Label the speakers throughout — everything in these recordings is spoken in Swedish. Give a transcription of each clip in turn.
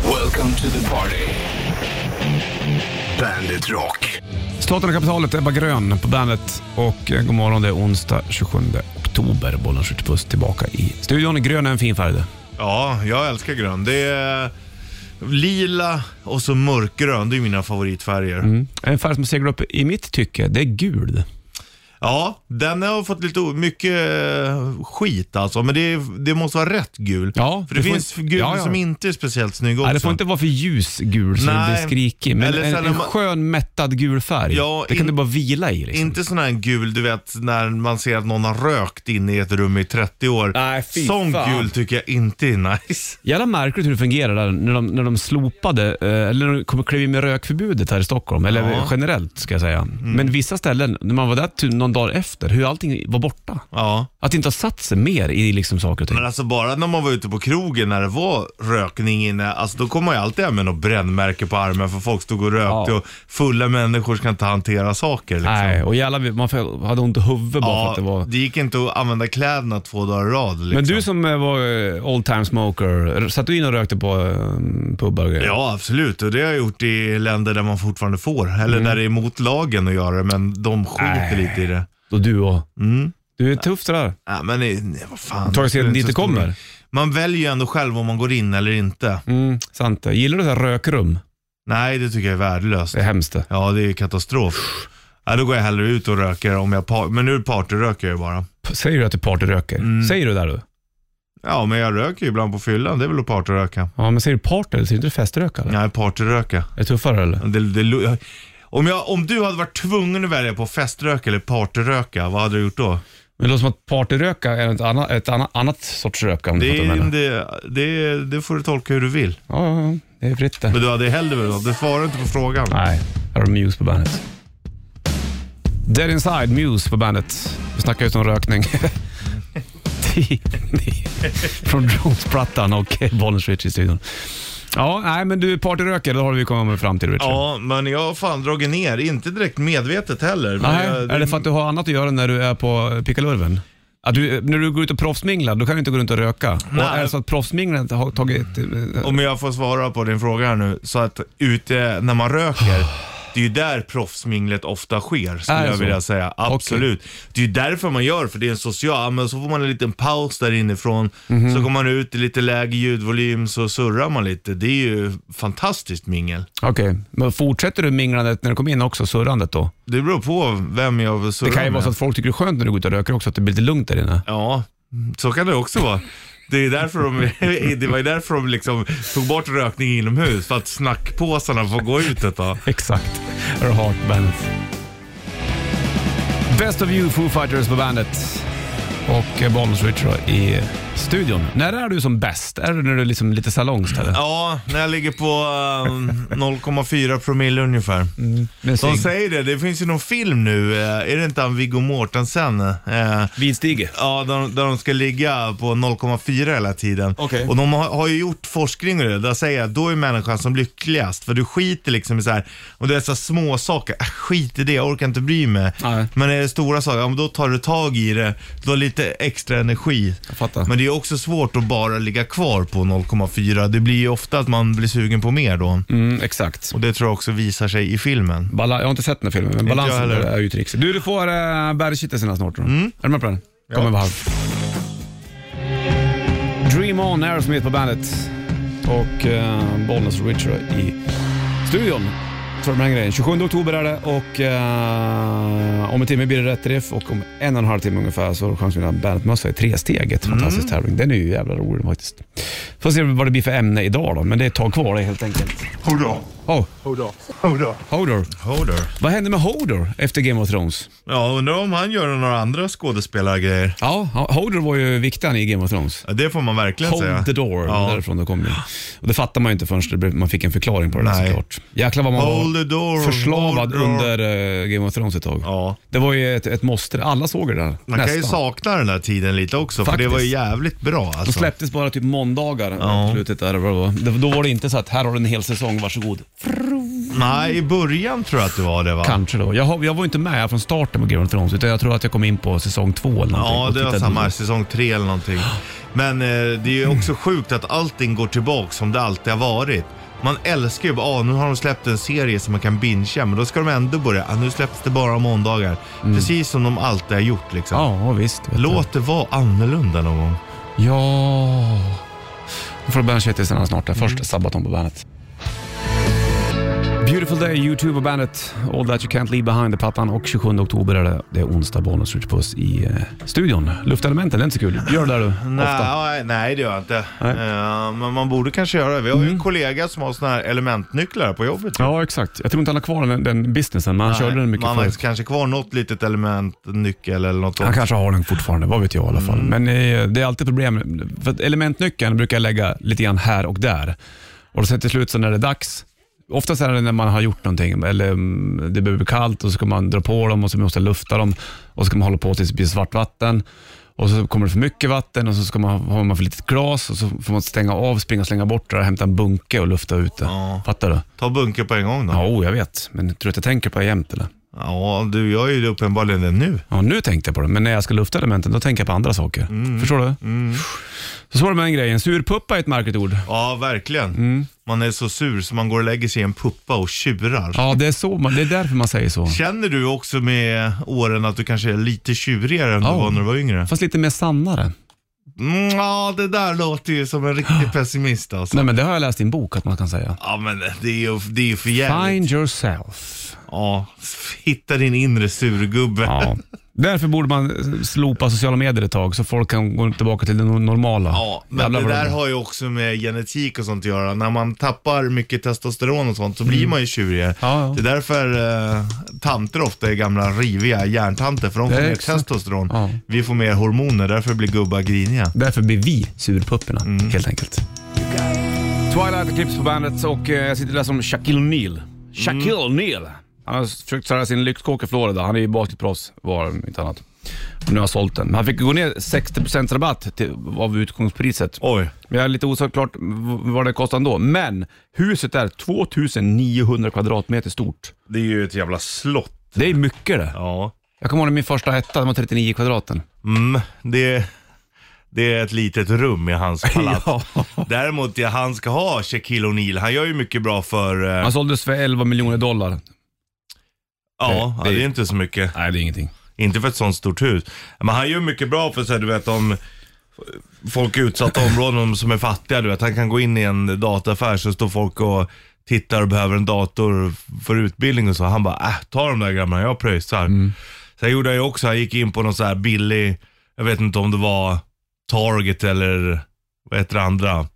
Speaker 1: Welcome to the party. Bandit Rock.
Speaker 2: Staten och kapitalet, Ebba Grön på bandet. Och eh, god morgon, det är onsdag 27 oktober. Bollen skjuter puss tillbaka i studion. Grön är en fin färg det.
Speaker 3: Ja, jag älskar grön. Det är lila och så mörkgrön. Det är mina favoritfärger.
Speaker 2: Mm. En färg som seglar upp i mitt tycke, det är gul.
Speaker 3: Ja, den har fått lite o- mycket eh, skit alltså. Men det, det måste vara rätt gul.
Speaker 2: Ja,
Speaker 3: För det,
Speaker 2: det får
Speaker 3: finns
Speaker 2: inte-
Speaker 3: gul
Speaker 2: ja, ja.
Speaker 3: som inte är speciellt snygg också.
Speaker 2: Nej, det får inte vara för ljusgul så det
Speaker 3: Nej.
Speaker 2: blir skrikig. Men
Speaker 3: Eller
Speaker 2: en,
Speaker 3: sen
Speaker 2: en
Speaker 3: om man-
Speaker 2: skön mättad gul färg,
Speaker 3: Ja,
Speaker 2: det kan
Speaker 3: in-
Speaker 2: du bara vila i. Liksom.
Speaker 3: Inte sån här gul, du vet, när man ser att någon har rökt inne i ett rum i 30 år.
Speaker 2: Nej, fy
Speaker 3: Sån
Speaker 2: fan.
Speaker 3: gul tycker jag inte är nice.
Speaker 2: Jävla märkligt hur det fungerar där när de, när de slopade, eh, eller när de kom- klev in med rökförbudet här i Stockholm, eller
Speaker 3: Ja. Mm.
Speaker 2: generellt ska jag säga. Men vissa ställen, när man var där typ någon dag efter, hur allting var borta.
Speaker 3: Ja.
Speaker 2: Att det inte har satt sig mer i liksom saker och ting.
Speaker 3: Men alltså bara när man var ute på krogen när det var rökning inne, alltså då kom man ju alltid hem med något brännmärke på armen för folk stod och rökte
Speaker 2: Ja.
Speaker 3: och fulla människor ska inte hantera saker liksom.
Speaker 2: Nej, och jävla, man får- hade ont i huvudet bara för
Speaker 3: Ja,
Speaker 2: att det var...
Speaker 3: det gick inte att använda kläderna två dagar i rad. Liksom.
Speaker 2: Men du som eh, var eh, old time smoker, r- satt du in och rökte på eh, pubbar och grejer?
Speaker 3: Ja, absolut. Och det har jag gjort i länder där man fortfarande får. Eller där det är emot lagen att göra det, men de skiter
Speaker 2: Mm. Nej.
Speaker 3: lite i det. Mm.
Speaker 2: Och du och. Du är tuff det där.
Speaker 3: Ja, men nej, nej, vad fan.
Speaker 2: Tagit sedan
Speaker 3: Det är inte
Speaker 2: dit
Speaker 3: så
Speaker 2: det
Speaker 3: stor-
Speaker 2: kommer.
Speaker 3: Man väljer ju ändå själv om man går in eller inte.
Speaker 2: Mm, sant det. Gillar du så här rökrum?
Speaker 3: Nej, det tycker jag är värdelöst.
Speaker 2: Det är hemskt det.
Speaker 3: Ja, det är katastrof. Ja, då går jag hellre ut och röker om jag par- Men nu partyröker jag ju bara.
Speaker 2: P- Säger du att du partyröker?
Speaker 3: Mm.
Speaker 2: Säger du det där du?
Speaker 3: Ja, men jag röker ju ibland på fyllan. Det är väl att partyröka.
Speaker 2: Ja, men säger du party? Säger du inte feströkare?
Speaker 3: Nej, partyröka.
Speaker 2: Är det tuffare eller?
Speaker 3: Det, det, lo- om, jag, om du hade varit tvungen att välja på feströka eller partyröka, vad hade du gjort då?
Speaker 2: Men det låter som att partyröka är ett annat, ett annat, annat sorts röka om du
Speaker 3: Det,
Speaker 2: fattar vad jag
Speaker 3: är-
Speaker 2: menar.
Speaker 3: det, det, det får du tolka hur du vill.
Speaker 2: Ja, ja, ja, det är fritt det.
Speaker 3: Men du hade hellre då? Du svarar inte på frågan.
Speaker 2: Nej, här har du Muse på bandet. Dead Inside, Muse på bandet. Vi snackar just om rökning. Från Drones-plattan och Bollens Rich i studion. Ja, nej men du är partyrökare, det har vi kommit fram till Richard.
Speaker 3: Ja, men jag har fan dragit ner. Inte direkt medvetet heller. Men
Speaker 2: Nej,
Speaker 3: jag,
Speaker 2: är det för att du har annat att göra när du är på pickalurven? Att du, när du går ut och proffsminglar, då kan du inte gå runt och röka.
Speaker 3: Nej.
Speaker 2: Och är det så att proffsminglandet har tagit... eh,
Speaker 3: Om jag får svara på din fråga här nu. Så att ute när man röker, det är ju där proffsminglet ofta sker
Speaker 2: Är
Speaker 3: skulle
Speaker 2: det
Speaker 3: jag
Speaker 2: så?
Speaker 3: vilja säga. Absolut. Det är ju därför man gör, för det är en social, men så får man en liten paus där inifrån.
Speaker 2: Mhm.
Speaker 3: Så går man ut i lite lägre ljudvolym så surrar man lite. Det är ju fantastiskt mingel.
Speaker 2: Okej, men fortsätter du minglandet när du kommer in också, surrandet då?
Speaker 3: Det beror på vem jag surrar
Speaker 2: Det kan ju
Speaker 3: med.
Speaker 2: vara så att folk tycker det är skönt när du går ut och röker också, att det blir lite lugnt där inne.
Speaker 3: Ja, så kan det också vara. Det, är därför de, det var ju därför de liksom tog bort rökning inomhus, för att snackpåsarna får gå ut ett tag.
Speaker 2: Exakt. Här har Heart Bandet. Best of you Foo Fighters på bandet. Och eh, Bollnäs Richard i studion. När är du som bäst? Är det när du är liksom lite salongs eller?
Speaker 3: Ja, när jag ligger på eh, 0,4 promille ungefär.
Speaker 2: Med
Speaker 3: De
Speaker 2: cigg?
Speaker 3: säger det, det finns ju någon film nu, eh, är det inte han Viggo Mortensen? eh,
Speaker 2: Vidstige.
Speaker 3: Ja, där, de- där de ska ligga på 0,4 hela tiden.
Speaker 2: Okej.
Speaker 3: Och de har, har ju gjort forskning och det, där säger jag, då är människan som lyckligast. För du skiter liksom i så här, och det är så små saker. Äh, skit i det, jag orkar inte bry mig.
Speaker 2: Nej.
Speaker 3: Men är det stora saker, ja, men då tar du tag i det. Du har lite extra energi.
Speaker 2: Jag fattar.
Speaker 3: Men det är också svårt att bara ligga kvar på 0,4. Det blir ju ofta att man blir sugen på mer då.
Speaker 2: Mm, exakt.
Speaker 3: Och det tror jag också visar sig i filmen.
Speaker 2: Bala- jag har inte sett den här filmen, men balansen
Speaker 3: jag heller.
Speaker 2: är ju ett trix. Du, du får uh, bergkittelserna snart. Mm. Är du med på den? Kommer vara halv. Dream On, Aerosmith på bandet. Och uh, Bollnäs och Richard i studion. Så de här grejen. 27 oktober är det och eh, om en timme blir det rätt riff och om en och en halv timme ungefär så har du chans att vinna bandetmössa i tre steget. Fantastisk tävling. Den är ju jävla rolig faktiskt. Får se vad det blir för ämne idag då, men det är ett tag kvar det helt enkelt.
Speaker 3: Hold on.
Speaker 2: Oh,
Speaker 3: Hold on.
Speaker 2: Hodor.
Speaker 3: Holder.
Speaker 2: Vad hände med Hodor efter Game of Thrones?
Speaker 3: Ja, undrar om han gör några andra skådespelargrejer.
Speaker 2: Ja, Hodor var ju viktaren i Game of Thrones.
Speaker 3: Ja, Det får man verkligen
Speaker 2: Hold
Speaker 3: säga.
Speaker 2: the door,
Speaker 3: Ja.
Speaker 2: därifrån det kom ju. Och det fattar man ju inte förrän det blev, man fick en förklaring på det där
Speaker 3: Nej.
Speaker 2: såklart. Jäklar vad man
Speaker 3: Hold
Speaker 2: var
Speaker 3: the door.
Speaker 2: förslavad
Speaker 3: hold the door.
Speaker 2: under eh, Game of Thrones ett tag.
Speaker 3: Ja.
Speaker 2: Det var ju ett, ett måste, alla såg det där.
Speaker 3: Man kan ju sakna den där tiden lite också, för
Speaker 2: Faktiskt.
Speaker 3: det var ju jävligt bra alltså.
Speaker 2: De släpptes bara typ måndagar
Speaker 3: Ja.
Speaker 2: i slutet där. vad det var. Det- Då var det inte så att här har du en hel säsong, varsågod.
Speaker 3: Nej, i början tror jag att det var det va?
Speaker 2: Kanske då. Jag, har- jag var inte med från starten på Game of Thrones utan jag tror att jag kom in på säsong två eller någonting.
Speaker 3: Ja,
Speaker 2: och
Speaker 3: det var
Speaker 2: tittade
Speaker 3: samma,
Speaker 2: då.
Speaker 3: här, säsong tre
Speaker 2: Mm.
Speaker 3: eller någonting. Men eh, det är ju också sjukt att allting går tillbaka som det alltid har varit. Man älskar ju bara, ah, nu har de släppt en serie som man kan bingea, men då ska de ändå börja, ah, nu släpps det bara om måndagar. Precis som de alltid har gjort liksom.
Speaker 2: Mm. Ja, visst. vet du.
Speaker 3: Låt det vara annorlunda någon gång.
Speaker 2: Ja. Nu får du bandshittisarna snart. Där. Först Sabaton på bandet. Beautiful Day, YouTube och bandet. All That You Can't Leave Behind är plattan och 27 oktober är det. Det är onsdag, Bonus Rich Puss i eh, studion. Luftelementen, det är inte så kul. Gör det där du, ofta.
Speaker 3: Nej, nej, det gör jag inte.
Speaker 2: Nej. Mm.
Speaker 3: Eh, men man borde kanske göra det. Vi har ju en kollega som har såna här elementnycklar på jobbet.
Speaker 2: Ja, exakt. Jag tror inte han har kvar den, den businessen, men han körde den mycket
Speaker 3: Man har
Speaker 2: förut.
Speaker 3: kanske kvar något litet element, nyckel eller något
Speaker 2: Han
Speaker 3: sånt.
Speaker 2: kanske har den fortfarande, vad vet jag i alla fall. Men eh, det är alltid problem. För att elementnyckeln brukar jag lägga lite grann här och där. Och sen till slut så när det är dags, oftast är det när man har gjort någonting, eller mm, det blir kallt och så ska man dra på dem och så måste man lufta dem och så ska man hålla på tills det blir svartvatten. Och så kommer det för mycket vatten och så ska man, har man för litet glas och så får man stänga av, springa och slänga bort det där, hämta en bunke och lufta ut det.
Speaker 3: Ja.
Speaker 2: Fattar du?
Speaker 3: Ta bunker på en gång då.
Speaker 2: Ja,
Speaker 3: Ja,
Speaker 2: oh, jag vet. Men tror du att jag tänker på det jämt eller?
Speaker 3: du gör ju det uppenbarligen det nu.
Speaker 2: Ja, nu tänkte jag på det, men när jag ska lufta elementen då tänker jag på andra saker. Förstår du? Så så var det med den grejen. Surpuppa är ett märkligt ord.
Speaker 3: Ja, verkligen. Man är så sur så man går och lägger sig i en puppa och tjurar.
Speaker 2: Ja, det är, så man, det är därför man säger så.
Speaker 3: Känner du också med åren att du kanske är lite tjurigare än
Speaker 2: Ja.
Speaker 3: du var när du var yngre?
Speaker 2: Fast lite mer sannare.
Speaker 3: Mm, ja, det där låter ju som en riktig pessimist alltså.
Speaker 2: Nej, men det har jag läst i en bok att man kan säga.
Speaker 3: Ja, men det är ju, det är ju för jävligt.
Speaker 2: Find yourself.
Speaker 3: Ja, hitta din inre surgubbe. Ja.
Speaker 2: Ja. Därför borde man slopa sociala medier ett tag så folk kan gå tillbaka till det no- normala.
Speaker 3: men
Speaker 2: Jävlar
Speaker 3: det
Speaker 2: vad
Speaker 3: där
Speaker 2: de-
Speaker 3: har ju också med genetik och sånt att göra. När man tappar mycket testosteron och sånt så blir man ju tjurigare.
Speaker 2: Mm. Ja, ja.
Speaker 3: Det är därför eh, tanter ofta är gamla riviga järntanter, för de
Speaker 2: Det
Speaker 3: får
Speaker 2: är
Speaker 3: mer
Speaker 2: exakt.
Speaker 3: testosteron.
Speaker 2: Ja.
Speaker 3: Vi får mer hormoner, därför blir gubbar griniga.
Speaker 2: Därför blir vi surpupporna, helt enkelt. Mm. Twilight och Clips på bandet och eh, jag sitter där som Shaquille O'Neal. Shaquille O'Neal! Han har försökt sälja sin lyxkåk i Florida. Han är ju basketproffs, var han, inte annat. Och nu har han sålt den. Men Han fick gå ner 60% rabatt till, av utgångspriset.
Speaker 3: Oj.
Speaker 2: Men jag är lite osäker v- vad det kostar ändå. Men huset är 2900 kvadratmeter stort.
Speaker 3: Det är ju ett jävla slott.
Speaker 2: Det är mycket det.
Speaker 3: Ja.
Speaker 2: Jag kommer ihåg när min första etta, den var 39 kvadraten.
Speaker 3: Mm, det, det är ett litet rum i hans palats.
Speaker 2: Ja.
Speaker 3: Däremot, ja, han ska ha Shaquille O'Neal. Han gör ju mycket bra för... eh,
Speaker 2: Han såldes för 11 miljoner dollar.
Speaker 3: ja,
Speaker 2: Alltså, det-
Speaker 3: det, är inte så mycket.
Speaker 2: Nej, det är ingenting.
Speaker 3: Inte för ett sånt stort hus. Men han gör mycket bra för så här, du vet om folk i utsatta områden som är fattiga. Du vet, han kan gå in i en dataaffär så står folk och tittar och behöver en dator för utbildning och så. Han bara, äh, ta de där gamla, jag pröjsar. Sen gjorde han ju också, han gick in på någon så här billig, jag vet inte om det var Target eller vad heter det andra?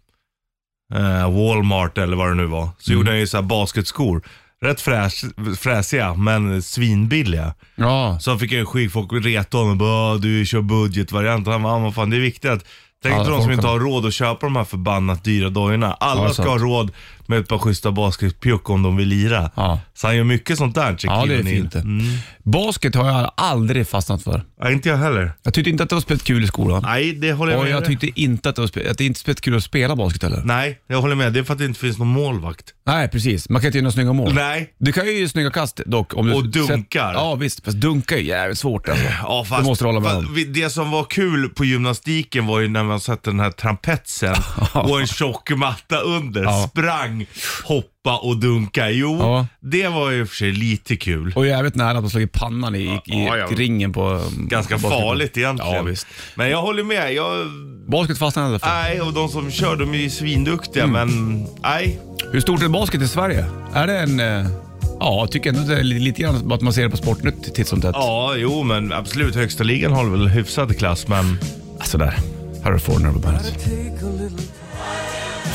Speaker 3: Eh, Walmart eller vad det nu var. Så gjorde han ju så här basketskor. Rätt fräs, fräsiga men svinbilliga.
Speaker 2: Ja,
Speaker 3: Så han fick en skit, folk retade honom. Bara, "Åh, du kör budgetvariant. Han bara, "Ah, vad fan det är viktigt att Tänk
Speaker 2: Ja,
Speaker 3: till de som
Speaker 2: folk
Speaker 3: inte
Speaker 2: har-
Speaker 3: har råd att köpa de här förbannat dyra dojorna. Alla
Speaker 2: Ja, det är
Speaker 3: ska ha råd med ett par schyssta basketpjuck om de vill lira.
Speaker 2: Ja.
Speaker 3: Så han gör mycket sånt där, Shaquille
Speaker 2: Ja, det är
Speaker 3: O'Neal.
Speaker 2: fint det.
Speaker 3: Mm.
Speaker 2: Basket har jag aldrig fastnat för.
Speaker 3: Ja, inte jag heller.
Speaker 2: Jag tyckte inte att det var spelat kul i skolan.
Speaker 3: Nej, det håller jag
Speaker 2: Och
Speaker 3: med
Speaker 2: jag
Speaker 3: dig.
Speaker 2: tyckte inte att det var spe- att det inte spelat kul att spela basket heller.
Speaker 3: Nej, jag håller med. Det är för att det inte finns någon målvakt.
Speaker 2: Nej, precis. Man kan inte göra några snygga mål.
Speaker 3: Nej.
Speaker 2: Du kan ju göra snygga kast dock. Om du
Speaker 3: Och dunkar.
Speaker 2: Ja, visst. Fast dunka är ju jävligt svårt alltså.
Speaker 3: Ja, fast,
Speaker 2: Det måste du hålla med
Speaker 3: fast
Speaker 2: om.
Speaker 3: vi- Det som var kul på gymnastiken var ju när man satte den här trampetsen och en tjock matta under.
Speaker 2: Ja.
Speaker 3: Sprang, hoppa och dunka. Jo,
Speaker 2: Ja.
Speaker 3: det var ju i och för sig lite kul.
Speaker 2: Och jävligt nära att man slog i pannan i, i,
Speaker 3: Ja, ja.
Speaker 2: i ringen på... um,
Speaker 3: Ganska
Speaker 2: på basketboll.
Speaker 3: farligt egentligen.
Speaker 2: Ja, visst.
Speaker 3: Men jag håller med. Jag,
Speaker 2: Basket fastnade jag aldrig för.
Speaker 3: nej, och de som kör de är ju svinduktiga
Speaker 2: Mm.
Speaker 3: men nej.
Speaker 2: Hur stort är basket i Sverige? Är det en... eh, Ja, jag tycker ändå att det är li- lite grann att man ser det på Sportnytt titt som tätt.
Speaker 3: Ja, jo men absolut. Högsta ligan håller väl hyfsad klass men
Speaker 2: Ah, Sådär. Här är Foreigner på bandet.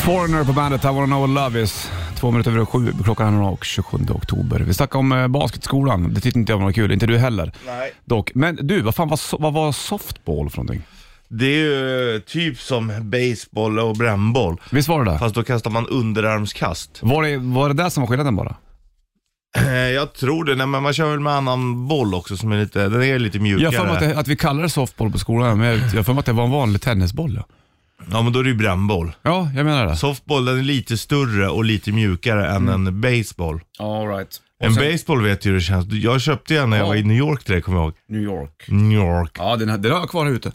Speaker 2: Foreigner på bandet, I wanna know what love is. Två minuter över sju, klockan är och 27 oktober. Vi snackade om eh, basketskolan, det tyckte inte jag var något kul. Inte du heller.
Speaker 3: Nej.
Speaker 2: Dock. Men du, vad fan var, so- vad var softball för någonting?
Speaker 3: det är ju typ som baseball och brännboll.
Speaker 2: Visst var det det?
Speaker 3: Fast då kastar man underarmskast.
Speaker 2: Var det, var det där som var skillnaden bara?
Speaker 3: Eh, Jag tror det. Nej, men man kör väl med annan boll också som är lite, den är lite mjukare.
Speaker 2: Jag har för mig att, det- att vi kallar det softball på skolan, men jag jag har för mig att det var en vanlig tennisboll. Ja,
Speaker 3: Ja men då är det ju brännboll.
Speaker 2: ja jag menar det.
Speaker 3: Softball den är lite större och lite mjukare
Speaker 2: Mm.
Speaker 3: än en baseball.
Speaker 2: All right.
Speaker 3: En baseball vet ju hur det känns. Jag köpte en när jag
Speaker 2: Ja.
Speaker 3: var i New York till det kommer jag ihåg.
Speaker 2: New York.
Speaker 3: New York.
Speaker 2: Ja, den, här- den har jag kvar här ute.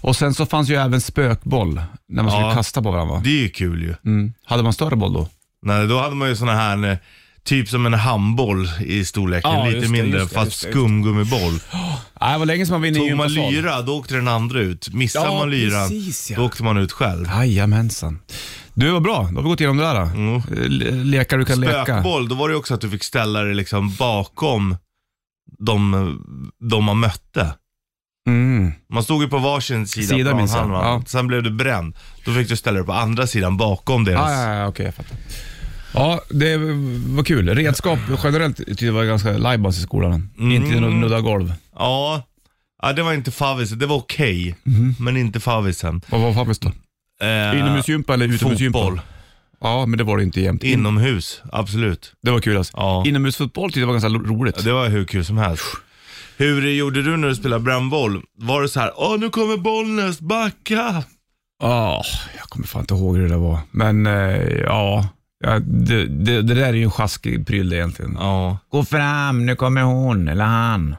Speaker 2: Och sen så fanns ju även spökboll, när man skulle
Speaker 3: Mm. Ja.
Speaker 2: kasta på varandra.
Speaker 3: Det är ju kul ju.
Speaker 2: Mm. Hade man större boll då?
Speaker 3: Nej, då hade man ju såna här, eh, typ som en handboll i storleken,
Speaker 2: Ja,
Speaker 3: lite
Speaker 2: just det,
Speaker 3: mindre,
Speaker 2: just det,
Speaker 3: fast
Speaker 2: just det, just det.
Speaker 3: skumgummiboll.
Speaker 2: Nej, det var länge som man vinner
Speaker 3: Tog man
Speaker 2: gympasal.
Speaker 3: lyra, då åkte den andra ut. Missade
Speaker 2: Ja,
Speaker 3: man lyran,
Speaker 2: precis, ja.
Speaker 3: då åkte man ut själv.
Speaker 2: Jajamensan. Du, var bra. Då har vi gått igenom det där. då.
Speaker 3: Mm.
Speaker 2: Le- Lekar du kan leka.
Speaker 3: Spökboll, då var det ju också att du fick ställa dig liksom bakom de, de man mötte.
Speaker 2: Mm.
Speaker 3: Man stod ju på varsin sida,
Speaker 2: Sida,
Speaker 3: på
Speaker 2: minns jag.
Speaker 3: planhalvan.
Speaker 2: Ja.
Speaker 3: Sen blev du bränd. Då fick du ställa dig på andra sidan bakom deras.
Speaker 2: Ah, ja, ja, okej, jag fattar. Ja, det var kul. Redskap generellt tyckte jag var ganska lajbans i skolan. Inte
Speaker 3: Mm.
Speaker 2: nudda golv.
Speaker 3: Ja. ja, det var inte favvisen. Det var okej,
Speaker 2: Mhm.
Speaker 3: men inte favvisen.
Speaker 2: Vad var Fabbis då?
Speaker 3: Eh,
Speaker 2: Inomhusgympa eller utomhusgympa?
Speaker 3: Fotboll.
Speaker 2: Ja, men det var det inte jämt. In-
Speaker 3: Inomhus, absolut.
Speaker 2: det var kul alltså.
Speaker 3: Ja.
Speaker 2: Inomhusfotboll tyckte jag var ganska lo- roligt.
Speaker 3: Ja, Det var hur kul som helst. Hur gjorde du när du spelade brännboll? Var det så här, åh nu kommer Bollnäs, backa!
Speaker 2: Ja, Ah, jag kommer fan inte ihåg hur det där var. Men eh, ja, ja det, det, det där är ju en sjaskig pryl det egentligen.
Speaker 3: Ja.
Speaker 2: Gå fram, nu kommer hon eller han.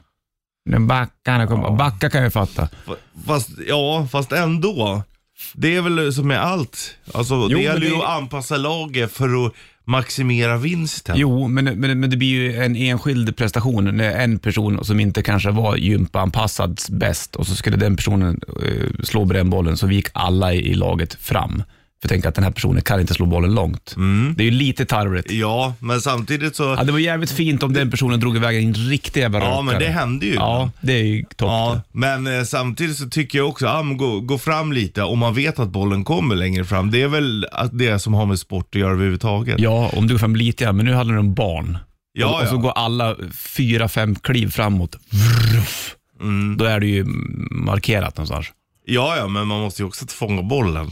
Speaker 2: Nu backar, nu kommer... Backa kan jag fatta.
Speaker 3: F- Fast, ja, fast ändå. Det är väl som med allt. Alltså,
Speaker 2: Jo,
Speaker 3: det gäller
Speaker 2: men
Speaker 3: ju
Speaker 2: det-
Speaker 3: att anpassa laget för att maximera vinsten.
Speaker 2: Jo, men, men, men det blir ju en enskild prestation när en person som inte kanske var gympaanpassad bäst och så skulle den personen eh, slå brännbollen så vi gick alla i, i laget fram. För tänk att den här personen kan inte slå bollen långt. Det är ju lite tarvligt.
Speaker 3: Ja, men samtidigt så...
Speaker 2: Ja, det var jävligt fint om den personen drog iväg en riktig jävla
Speaker 3: Ja, men det
Speaker 2: rökare.
Speaker 3: hände ju.
Speaker 2: Ja, det är ju topp.
Speaker 3: Ja, men eh, samtidigt så tycker jag också, ah, men gå, gå fram lite om man vet att bollen kommer längre fram. Det är väl att det som har med sport att göra överhuvudtaget.
Speaker 2: Ja, alltså, om du går fram lite grann, men nu handlar det om barn.
Speaker 3: Ja,
Speaker 2: och, och så
Speaker 3: ja.
Speaker 2: går alla fyra, fem kliv framåt. Vrruff.
Speaker 3: Mm.
Speaker 2: Då är det ju markerat någonstans.
Speaker 3: Ja, ja, men man måste ju också fånga bollen.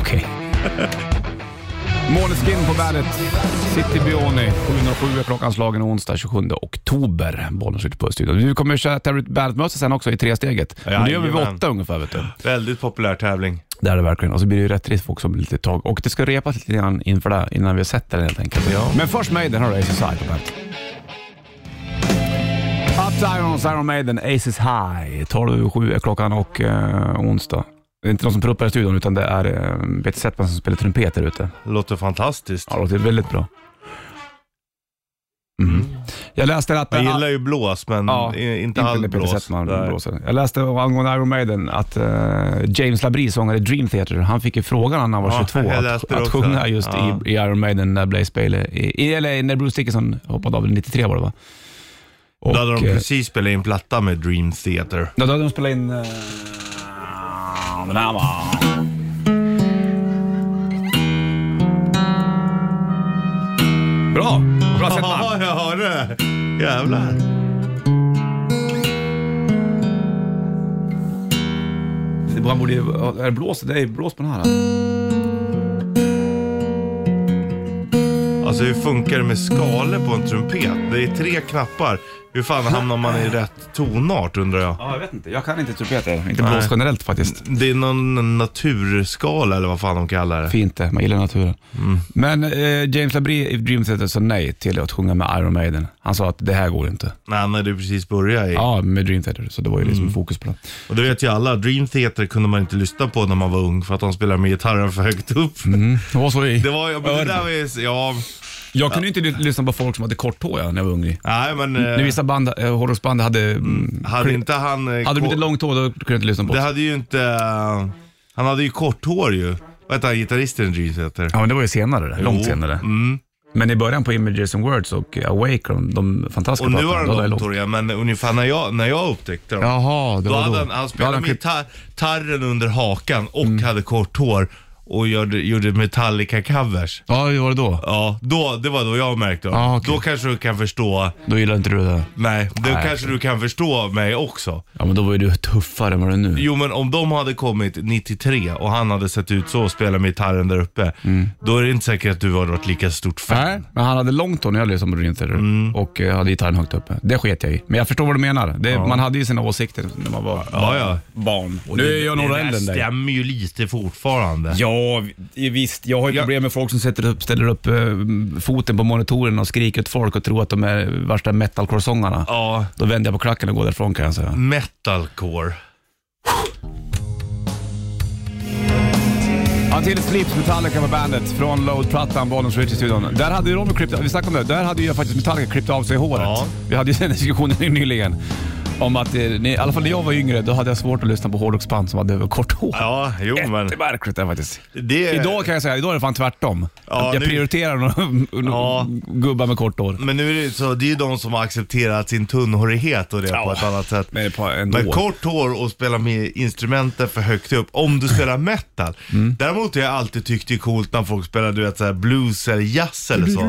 Speaker 2: Okej. Måneskin på bandet. City Bioni. 707 är klockan slagen onsdag 27 oktober. Bollen skjuter på studion. Du kommer köra Terry Bandet-mössa sen också i tresteget. Men det gör vi vid
Speaker 3: Jajamän.
Speaker 2: åtta ungefär vet du.
Speaker 3: Väldigt populär tävling.
Speaker 2: Det är det verkligen. Och så blir det ju rätt risk också om lite tag. Och det ska repas lite grann inför det, innan vi har sett den helt enkelt.
Speaker 3: Ja.
Speaker 2: Men först Maiden, har du Aces High på bandet. Up Irons, Iron Maiden, Aces High. 12.07 är klockan och eh, onsdag. Det är inte någon som pruppar i studion utan det är eh, Peter Settman som spelar trumpet där ute.
Speaker 3: Låter fantastiskt.
Speaker 2: Ja, det låter väldigt bra. Mm. Jag läste att...
Speaker 3: Jag gillar ju blås, men
Speaker 2: Ja,
Speaker 3: Mm, i- inte
Speaker 2: inte
Speaker 3: all
Speaker 2: när Peter
Speaker 3: blås.
Speaker 2: Settman
Speaker 3: Nej.
Speaker 2: blåser. Jag läste angående Iron Maiden att eh, James Labrie, sångare i Dream Theater, han fick ju frågan när han var
Speaker 3: Ja,
Speaker 2: 22
Speaker 3: jag läste
Speaker 2: att,
Speaker 3: det
Speaker 2: att
Speaker 3: också.
Speaker 2: sjunga just
Speaker 3: Ja.
Speaker 2: i, i Iron Maiden när Blaze Bailey, i, i- eller när Bruce Dickinson hoppade av, 93 var det va? Och,
Speaker 3: Då hade de
Speaker 2: eh,
Speaker 3: precis spelat in platta med Dream Theater.
Speaker 2: Ja, då hade de spelat in... eh, den här var... Bra! Bra Settman!
Speaker 3: Ja, jag hörde det. Jävlar.
Speaker 2: Det- Han borde ju, är det blås? Det är blås på den här.
Speaker 3: Alltså hur funkar det med skalor på en trumpet? Det är tre knappar. Hur fan hamnar man i rätt tonart undrar jag? typ
Speaker 2: Ja, jag vet inte. Jag kan inte trumpeter. Inte
Speaker 3: Nej.
Speaker 2: blås generellt faktiskt.
Speaker 3: Det är någon naturskala eller vad fan de kallar det.
Speaker 2: Fint det, man gillar naturen.
Speaker 3: Mm.
Speaker 2: Men eh, James Labrie i Dream Theater sa nej till att sjunga med Iron Maiden. Han sa att det här går inte.
Speaker 3: Nej, han hade ju precis börjat i.
Speaker 2: Ja, med Dream Theater, så det var ju liksom
Speaker 3: Mm.
Speaker 2: fokus på det.
Speaker 3: Och det vet ju alla, Dream Theater kunde man inte lyssna på när man var ung för att de spelade med gitarren för högt upp.
Speaker 2: Mm. Det var så i.
Speaker 3: Det var, ja, men det där var ju, ja,
Speaker 2: Jag kunde ju inte ly- lyssna på folk som hade kort hår ja, när jag var ung.
Speaker 3: nej men. eh,
Speaker 2: När vissa band, eh, hårdrocksband hade... Mm.
Speaker 3: Hade inte han... eh,
Speaker 2: Hade de
Speaker 3: ko-
Speaker 2: inte långt hår, då kunde jag inte lyssna på
Speaker 3: Det
Speaker 2: det.
Speaker 3: hade ju inte... eh, Han hade ju kort hår ju. Vad hette han, gitarristen i Dream Theater?
Speaker 2: Ja, men det var ju senare, det. långt
Speaker 3: Jo,
Speaker 2: senare.
Speaker 3: Mm.
Speaker 2: Men i början på Images and Words och Awake, de, de fantastiska
Speaker 3: Och nu
Speaker 2: plattorna,
Speaker 3: har han
Speaker 2: då var det
Speaker 3: långt
Speaker 2: långt.
Speaker 3: hår igen, men ungefär när jag, när jag upptäckte dem.
Speaker 2: Jaha, det
Speaker 3: Då
Speaker 2: var
Speaker 3: hade
Speaker 2: då.
Speaker 3: han, han
Speaker 2: Då hade
Speaker 3: spelade
Speaker 2: han Mm.
Speaker 3: med
Speaker 2: klippt-
Speaker 3: gitarr- gitarren under hakan och hade kort hår och gjorde, gjorde Metallica-covers.
Speaker 2: Ja, hur var det då?
Speaker 3: Ja, då, det var då jag märkte dem.
Speaker 2: Ah, okej.
Speaker 3: Då kanske du kan förstå,
Speaker 2: Då gillade inte du det. där.
Speaker 3: nej, då
Speaker 2: Nej,
Speaker 3: kanske du kan förstå mig också.
Speaker 2: Ja, men då var ju du tuffare än vad du är nu.
Speaker 3: Jo men om de hade kommit 93 och han hade sett ut så och spelat med gitarren där uppe,
Speaker 2: Mm.
Speaker 3: då är det inte säkert att du hade varit lika stort fan. Mm.
Speaker 2: Nej, men han hade långt hår när jag lyssnade på Dream Theater och eh, hade gitarren högt uppe. Det sket jag i. Men jag förstår vad du menar. Det, Man hade ju sina åsikter när man var
Speaker 3: Ja, ja.
Speaker 2: barn. nu är jag några äldre än
Speaker 3: Det
Speaker 2: dig.
Speaker 3: stämmer ju lite fortfarande.
Speaker 2: Ja, vi- visst. Jag har ju
Speaker 3: Ja.
Speaker 2: problem med folk som sätter upp, ställer upp eh, foten på monitoren och skriker åt folk och tror att de är värsta metalcore-sångarna.
Speaker 3: Ja,
Speaker 2: Då vänder jag på klacken och går därifrån kan jag säga.
Speaker 3: metalcore.
Speaker 2: Ja, till Slips Metallica på bandet från Load-plattan, Bollnäs Rich i studion. Där hade ju de klippt, vi snackade om det, där hade ju faktiskt Metallica klippt av sig håret.
Speaker 3: Ja.
Speaker 2: Vi hade ju den diskussionen nyligen. Om att, eh, ni- i alla fall när jag var yngre, då hade jag svårt att lyssna på hårdrocksband som hade kort hår.
Speaker 3: Ja, jo men.
Speaker 2: Det är märkligt det faktiskt.
Speaker 3: Det,
Speaker 2: Idag kan jag säga, idag är det fan tvärtom.
Speaker 3: Ja,
Speaker 2: jag
Speaker 3: nu-
Speaker 2: prioriterar några
Speaker 3: Ja.
Speaker 2: gubbar med kort hår.
Speaker 3: Men nu är det ju så, det är ju de som har accepterat sin tunnhårighet och det
Speaker 2: Ja.
Speaker 3: på ett annat sätt.
Speaker 2: Men på- ändå.
Speaker 3: Men kort hår och spela med instrumenten för högt upp, om du spelar metal.
Speaker 2: Mm.
Speaker 3: Däremot har jag alltid tyckt det är coolt när folk spelar du vet, så här blues eller jazz eller så.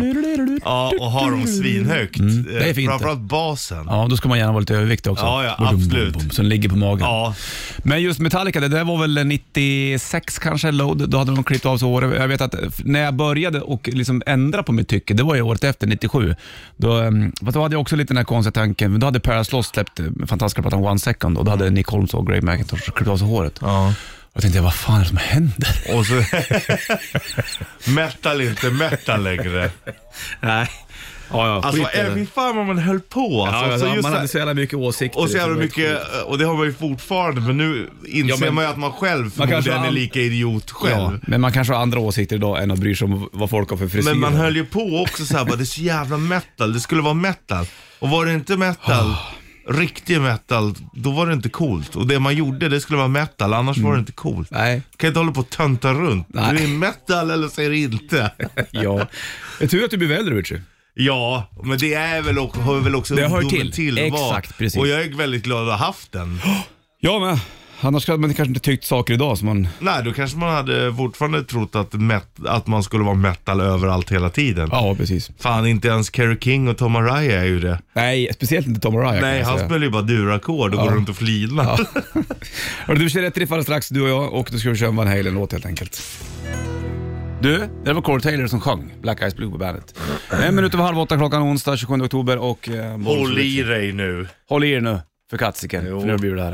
Speaker 3: Ja, och har dem svinhögt. Mm.
Speaker 2: det är fint.
Speaker 3: Framförallt basen.
Speaker 2: Ja, då ska man gärna vara lite överviktig också.
Speaker 3: Ja, ja, absolut.
Speaker 2: Så den ligger på magen.
Speaker 3: Ja.
Speaker 2: Men just Metallica, det där var väl 96 kanske, Load. Då hade de klippt av sig håret. Jag vet att eh, när jag började och liksom ändra på mitt tycke, det var ju året efter, 97. Då, ehm, fast då hade jag också lite den här konstiga tanken, men då hade Paradise Lost släppt eh, fantastiska plattan One Second och då hade Nick Holmes och Greg McIntosh klippt av sig håret.
Speaker 3: ja.
Speaker 2: Och jag tänkte, vad fan är det som händer?
Speaker 3: Och så... metal är inte metal längre.
Speaker 2: Nej. Ja, ja,
Speaker 3: Alltså,
Speaker 2: skit i det.
Speaker 3: äh, fy fan vad man höll på. Alltså,
Speaker 2: Ja,
Speaker 3: så
Speaker 2: ja, man
Speaker 3: just så här-
Speaker 2: hade så jävla mycket åsikter.
Speaker 3: Och så jävla
Speaker 2: liksom.
Speaker 3: mycket, och det har man ju fortfarande, men nu inser
Speaker 2: Ja, men-
Speaker 3: man ju att man själv
Speaker 2: kanske
Speaker 3: förmodligen
Speaker 2: har
Speaker 3: är
Speaker 2: an-
Speaker 3: lika idiot
Speaker 2: Ja,
Speaker 3: själv.
Speaker 2: men man kanske har andra åsikter idag än att bry sig om vad folk har för frisyrer.
Speaker 3: Men man höll ju på också såhär, bara, det är så jävla metal, det skulle vara metal. Och var det inte metal,
Speaker 2: Ah.
Speaker 3: riktig metal, då var det inte coolt. Och det man gjorde, det skulle vara metal, annars var det inte coolt.
Speaker 2: Nej.
Speaker 3: Kan inte hålla på och tönta runt.
Speaker 2: Mm. Nej.
Speaker 3: Du är metal eller så är du inte.
Speaker 2: Ja. Det är tur att du blev äldre Richie.
Speaker 3: Ja, men det är väl och, hör väl också
Speaker 2: Det hör
Speaker 3: ungdomen
Speaker 2: till.
Speaker 3: att vara.
Speaker 2: Exakt, precis.
Speaker 3: Och jag är väldigt glad att ha haft den.
Speaker 2: Ja men. Annars hade man kanske inte tyckt saker idag som man...
Speaker 3: Nej, då kanske man hade fortfarande trott att, met- att man skulle vara metal överallt hela tiden.
Speaker 2: Ja, precis. Fan.
Speaker 3: Fan, inte ens Kerry King och Tom Araya är ju det.
Speaker 2: Nej, speciellt inte Tom Araya
Speaker 3: Nej,
Speaker 2: kan jag
Speaker 3: han
Speaker 2: säga.
Speaker 3: spelar ju bara durackord och går runt och flinar.
Speaker 2: Hörru, du kör rätt riff alldeles strax du och jag och nu ska vi köra en Van Halen-låt helt enkelt. Du, det var Corey Taylor som sjöng Black Eyes Blue på bandet. En minut över halv åtta klockan onsdag 27 oktober och... Eh,
Speaker 3: Håll i dig nu.
Speaker 2: Håll i er nu för katsiken, för nu blir det här.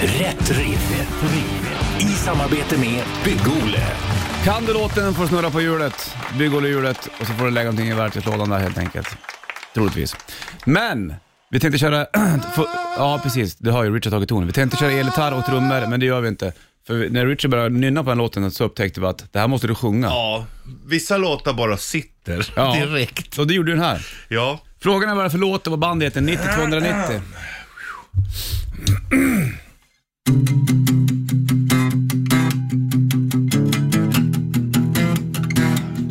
Speaker 1: Rätt riff. Rätt riff. I samarbete med Bygg-Ole.
Speaker 2: Kan du låten får du snurra på hjulet, bygg och hjulet och så får du lägga någonting i verktygslådan där helt enkelt. Troligtvis. Men, vi tänkte köra... för, ja, precis. Du har ju Richard tagit tonen. Vi tänkte köra elgitarr och trummor, men det gör vi inte. För vi- när Richard började nynna på den låten så upptäckte vi att det här måste du sjunga.
Speaker 3: Ja, vissa låtar bara sitter
Speaker 2: Ja.
Speaker 3: direkt.
Speaker 2: Och det gjorde du den här.
Speaker 3: Ja.
Speaker 2: Frågan är vad det är för låt och vad bandet heter. 90-290.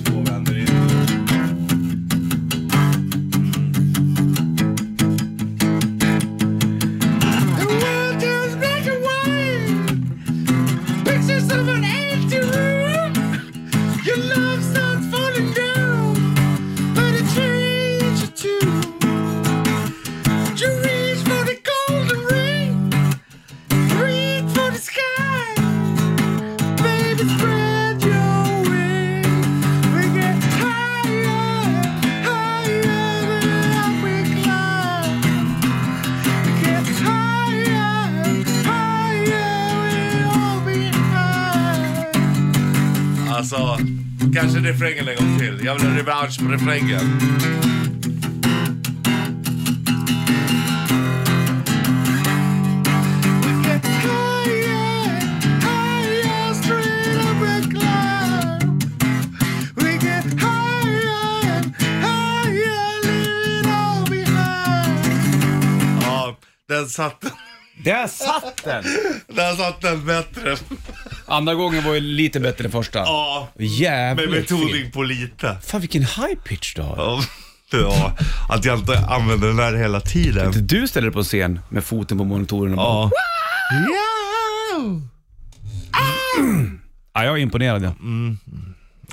Speaker 3: Två vänner in.
Speaker 4: The world turns black and white. Pictures of an empty room. Your love starts falling down, but it changed you too. You reach for the golden ring, reach for the sky. Baby, spread your wings. We get higher, higher than up we climb. Gets higher, higher, we all be high.
Speaker 3: Alltså, kanske refrängen en gång till. Jag vill ha revansch på refrängen.
Speaker 4: We get higher, higher, straight up and climb. We get higher, higher, leave it all behind.
Speaker 3: Ja, den satt,
Speaker 2: Där satt den!
Speaker 3: den satt den bättre.
Speaker 2: Andra gången var ju lite bättre än första.
Speaker 3: Ja, med
Speaker 2: Jävligt fin.
Speaker 3: betoning på lite.
Speaker 2: Fan vilken high pitch du har.
Speaker 3: Ja, Ja, att jag inte använder den där hela tiden.
Speaker 2: Du ställer dig på en scen med foten på monitoren och bara...
Speaker 3: Ja.
Speaker 2: Ja, jag är imponerad. Ja.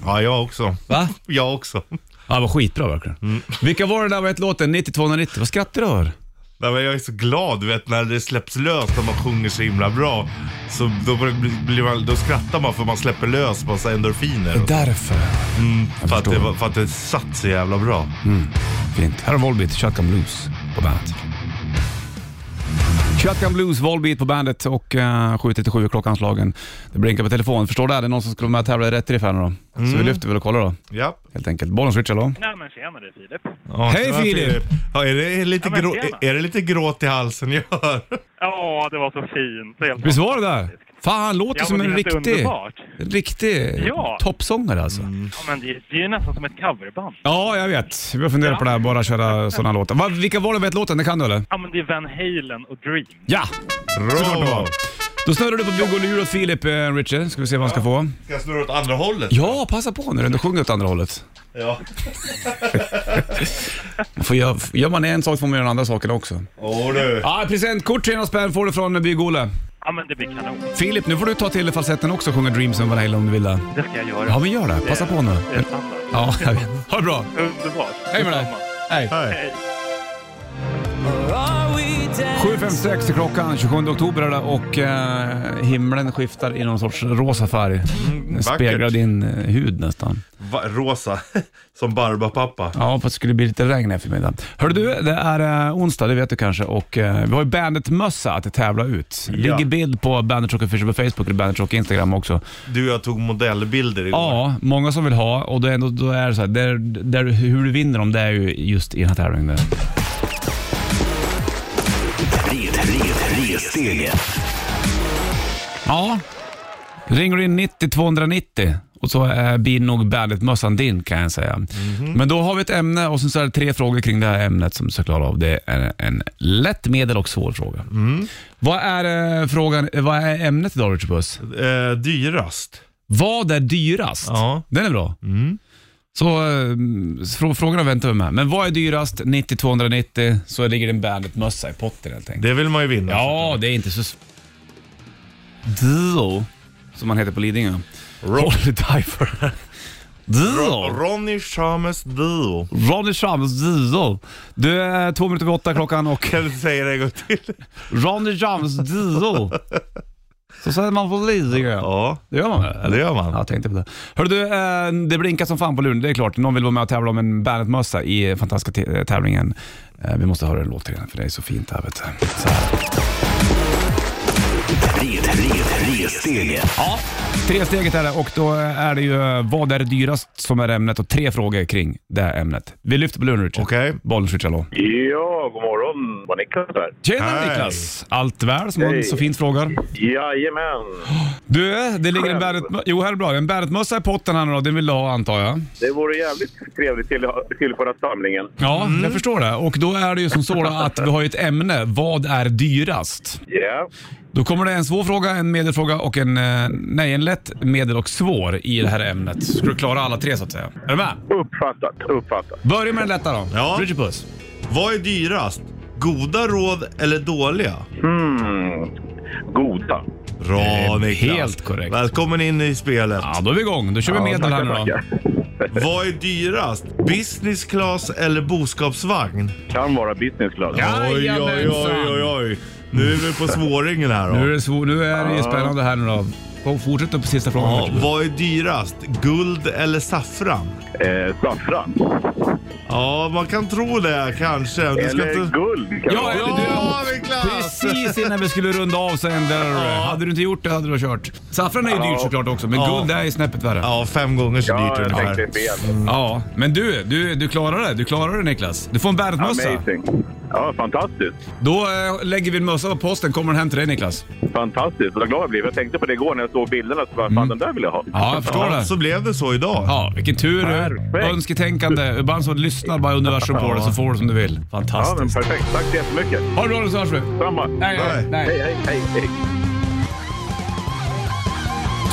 Speaker 3: ja, jag också.
Speaker 2: Va?
Speaker 3: Jag också.
Speaker 2: Ja, det var skitbra verkligen. Vilka var det där var låten 9290? Vad skrattar du över?
Speaker 3: Nej, men jag är så glad, du vet när det släpps löst och man sjunger så himla bra. Så då, blir- blir man, då skrattar man för man släpper lös massa endorfiner.
Speaker 2: Därför.
Speaker 3: För att, det,
Speaker 2: förstår.
Speaker 3: var- för att det satt så jävla bra.
Speaker 2: Fint. Här har Volbeat, Shotgun Blues på bandet. Shotgun Blues, Volbeat på bandet och eh, 7.37 är klockanslagen. Det blinkar på telefonen. Förstår du? Det är någon som skulle vara med och tävla i rätt riff här nu då. Så
Speaker 5: Mm.
Speaker 2: vi lyfter väl och kollar då,
Speaker 3: Ja.
Speaker 2: helt enkelt. Bollens Richard då.
Speaker 5: Nej men tjenare Filip.
Speaker 3: Ja,
Speaker 2: Hej,
Speaker 3: så här,
Speaker 2: Filip.
Speaker 3: Ja, är, det lite
Speaker 5: Ja, men
Speaker 3: grå,
Speaker 5: tjena.
Speaker 3: är det lite gråt i halsen jag hör?
Speaker 5: Ja, det var så fint. Det är helt
Speaker 2: Visst var det där? Fan, han låter
Speaker 5: Ja,
Speaker 2: som
Speaker 5: men
Speaker 2: en
Speaker 5: det är helt
Speaker 2: riktig,
Speaker 5: underbart.
Speaker 2: en riktig
Speaker 5: Ja. Mm.
Speaker 2: toppsångare alltså.
Speaker 5: Ja, men det, det är ju nästan som ett coverband.
Speaker 2: Ja, jag vet. Vi har funderat på det här, bara köra sådana låtar. Va, vilka var det vi vet låten? Det kan du eller?
Speaker 5: Ja, men det är Van Halen och Dream.
Speaker 2: Ja! Såklart det
Speaker 3: Bra!
Speaker 2: var. Då snurrar du på Bugg och lur åt Filip, eh, Richie. Ska vi se vad han ska få.
Speaker 3: Ska jag snurra åt andra hållet?
Speaker 2: Ja, passa på när du ändå sjunger åt andra hållet.
Speaker 3: Ja.
Speaker 2: Får gör, gör man en sak får man göra andra saker också.
Speaker 3: Åh du.
Speaker 2: Ja, presentkort 300 spänn får du från Bygg-Olle.
Speaker 5: Ja, men det blir kanon.
Speaker 2: Filip, nu får du ta till falsetten också och sjunga Dreams on Van Halen om du vill det.
Speaker 5: Det ska jag göra.
Speaker 2: Ja, men gör det. Passa på nu.
Speaker 5: Det är standard.
Speaker 2: Ja, jag vet. Ha det bra.
Speaker 5: Underbart.
Speaker 2: Hej med dig.
Speaker 5: Detsamma.
Speaker 2: Hej.
Speaker 3: Hej.
Speaker 5: Hej.
Speaker 2: 7.56 är klockan, 27 oktober är det och eh, himlen skiftar i någon sorts rosa färg. Den
Speaker 3: vackert.
Speaker 2: speglar din eh, hud nästan.
Speaker 3: Va, rosa. Som Barbapapa.
Speaker 2: Ja, fast det skulle bli lite regn här förmiddagen. Hörru du, det är eh, onsdag, det vet du kanske, och eh, vi har ju Bandet-mössa att tävla ut. Det
Speaker 3: Ja.
Speaker 2: ligger bild på Bandet Rock Official på Facebook och Bandet Rock Instagram också.
Speaker 3: Du och jag tog modellbilder igår.
Speaker 2: Ja, många som vill ha och då är, då är det så här, där, där, hur du vinner dem det är ju just i den här tävlingen. där.
Speaker 1: Tre, tre, tre stegen.
Speaker 2: Ja, ringer du in 90 290 och så eh, blir nog Bandet-mössan din kan jag säga. Men då har vi ett ämne och sen så är det tre frågor kring det här ämnet som du ska klara av. Det är en lätt, medel och svår fråga. Vad är eh, frågan, eh, vad är ämnet idag Richard Puss?
Speaker 3: Eh, dyrast.
Speaker 2: Vad är dyrast?
Speaker 3: Ja.
Speaker 2: Den är bra. Så eh, frå- frågorna väntar vi med. Men vad är dyrast? 90 290 så ligger det en Bandet-mössa i potten helt enkelt.
Speaker 3: Det vill man ju vinna.
Speaker 2: Ja, det är inte så... s- Duo, som man heter på Lidingö. Rolly Diver. Duo.
Speaker 3: Ronny Schames Dio.
Speaker 2: Ronny Shams Duo. Du är två minuter över åtta klockan och
Speaker 3: Kan du säga det en gång till?
Speaker 2: Ronny Shams Duo. Så säger man på Lidingö.
Speaker 3: Ja,
Speaker 2: Det gör man väl, eller?
Speaker 3: det gör man.
Speaker 2: Ja, jag tänkte på det. Hörru du, eh, det blinkar som fan på luren. Det är klart, någon vill vara med och tävla om en Bandet-mössa i eh, fantastiska te- tävlingen. Eh, Vi måste höra en låt till den, för det är så fint här vet du. Så här.
Speaker 1: Tre, tre, tre stegen.
Speaker 2: Ja, tre steget är det och då är det ju eh, vad är det dyrast som är ämnet och tre frågor kring det här ämnet. Vi lyfter på luren Richard.
Speaker 3: Okej.
Speaker 2: Bollen Richard, hallå.
Speaker 6: Ja, god morgon. Var Niklas här?
Speaker 2: Tjena
Speaker 3: Hej.
Speaker 2: Niklas! Allt väl som man så fint frågar?
Speaker 6: Jajamän.
Speaker 2: Du, eh, det ligger en
Speaker 6: Själv.
Speaker 2: bäret... Jo, här är bra. En bäretmössa i potten här nu då. Den vill du ha antar jag?
Speaker 6: Det vore jävligt trevligt till tillföra samlingen.
Speaker 2: Ja, jag förstår det. Och då är det ju som så då att vi har ju ett ämne. Vad är dyrast?
Speaker 6: Ja.
Speaker 2: Då kommer det en svår fråga, en medelfråga och en... eh, Nej, en lätt, medel och svår i det här ämnet. Ska du klara alla tre så att säga. Är du med?
Speaker 6: Uppfattat, uppfattat.
Speaker 2: Börja med den lätta då.
Speaker 3: Ja.
Speaker 2: Richard Puss.
Speaker 3: Vad är dyrast? Goda råd eller dåliga?
Speaker 6: Hmm. Goda.
Speaker 3: Bra
Speaker 2: Det är
Speaker 3: Niklas.
Speaker 2: helt korrekt.
Speaker 3: Välkommen in i spelet.
Speaker 2: Ja, då är vi igång. Då kör vi medel här nu då.
Speaker 6: tackar, tackar.
Speaker 3: Vad är dyrast? Business class eller boskapsvagn?
Speaker 6: Kan vara business class.
Speaker 3: Oj, oj, oj, oj, oj. Nu är vi på svåringen här då.
Speaker 2: Nu är det, svår, nu är det ju spännande här nu då. Och Fortsätt då på sista frågan.
Speaker 3: Ja,
Speaker 2: Richard.
Speaker 3: vad är dyrast? Guld eller saffran?
Speaker 6: Eh, saffran.
Speaker 3: Ja, man kan tro det kanske. Du ska
Speaker 6: Eller
Speaker 3: inte...
Speaker 6: guld. Kan
Speaker 2: Ja,
Speaker 6: vara.
Speaker 2: eller
Speaker 3: Ja,
Speaker 2: du.
Speaker 3: Niklas!
Speaker 2: Precis innan vi skulle runda av sen där. Hade du inte gjort det hade du kört. Saffran är ju dyrt såklart också, men
Speaker 3: Ja.
Speaker 2: guld är ju snäppet värre. Ja.
Speaker 3: Ja, fem gånger så
Speaker 6: ja,
Speaker 3: dyrt
Speaker 6: jag
Speaker 3: ungefär.
Speaker 6: tänkte fel.
Speaker 2: men du, du, du klarar det. Du klarar det Niklas. Du får en Bernt-mössa.
Speaker 6: Amazing. Ja, fantastiskt.
Speaker 2: Då eh, lägger vi en mössa på posten. Kommer den hem till dig Niklas?
Speaker 6: Fantastiskt. Vad glad jag blev. Jag tänkte på det igår när jag såg bilderna. Så bara, fan, den där vill jag ha.
Speaker 2: Mm. Ja, jag förstår
Speaker 3: Ja,
Speaker 2: det.
Speaker 3: så blev det så idag.
Speaker 2: Ja, vilken tur du
Speaker 6: Perfekt.
Speaker 2: Önsketänkande. Ibland så lyssnar bara universum på det så får du som du vill.
Speaker 6: Ja, men
Speaker 2: Fantastiskt.
Speaker 6: perfekt. Tack så jättemycket.
Speaker 2: Ha det bra nu så hörs vi.
Speaker 6: Samma.
Speaker 2: Nej, nej,
Speaker 6: Hej,
Speaker 2: nej.
Speaker 6: hej, hej. hej.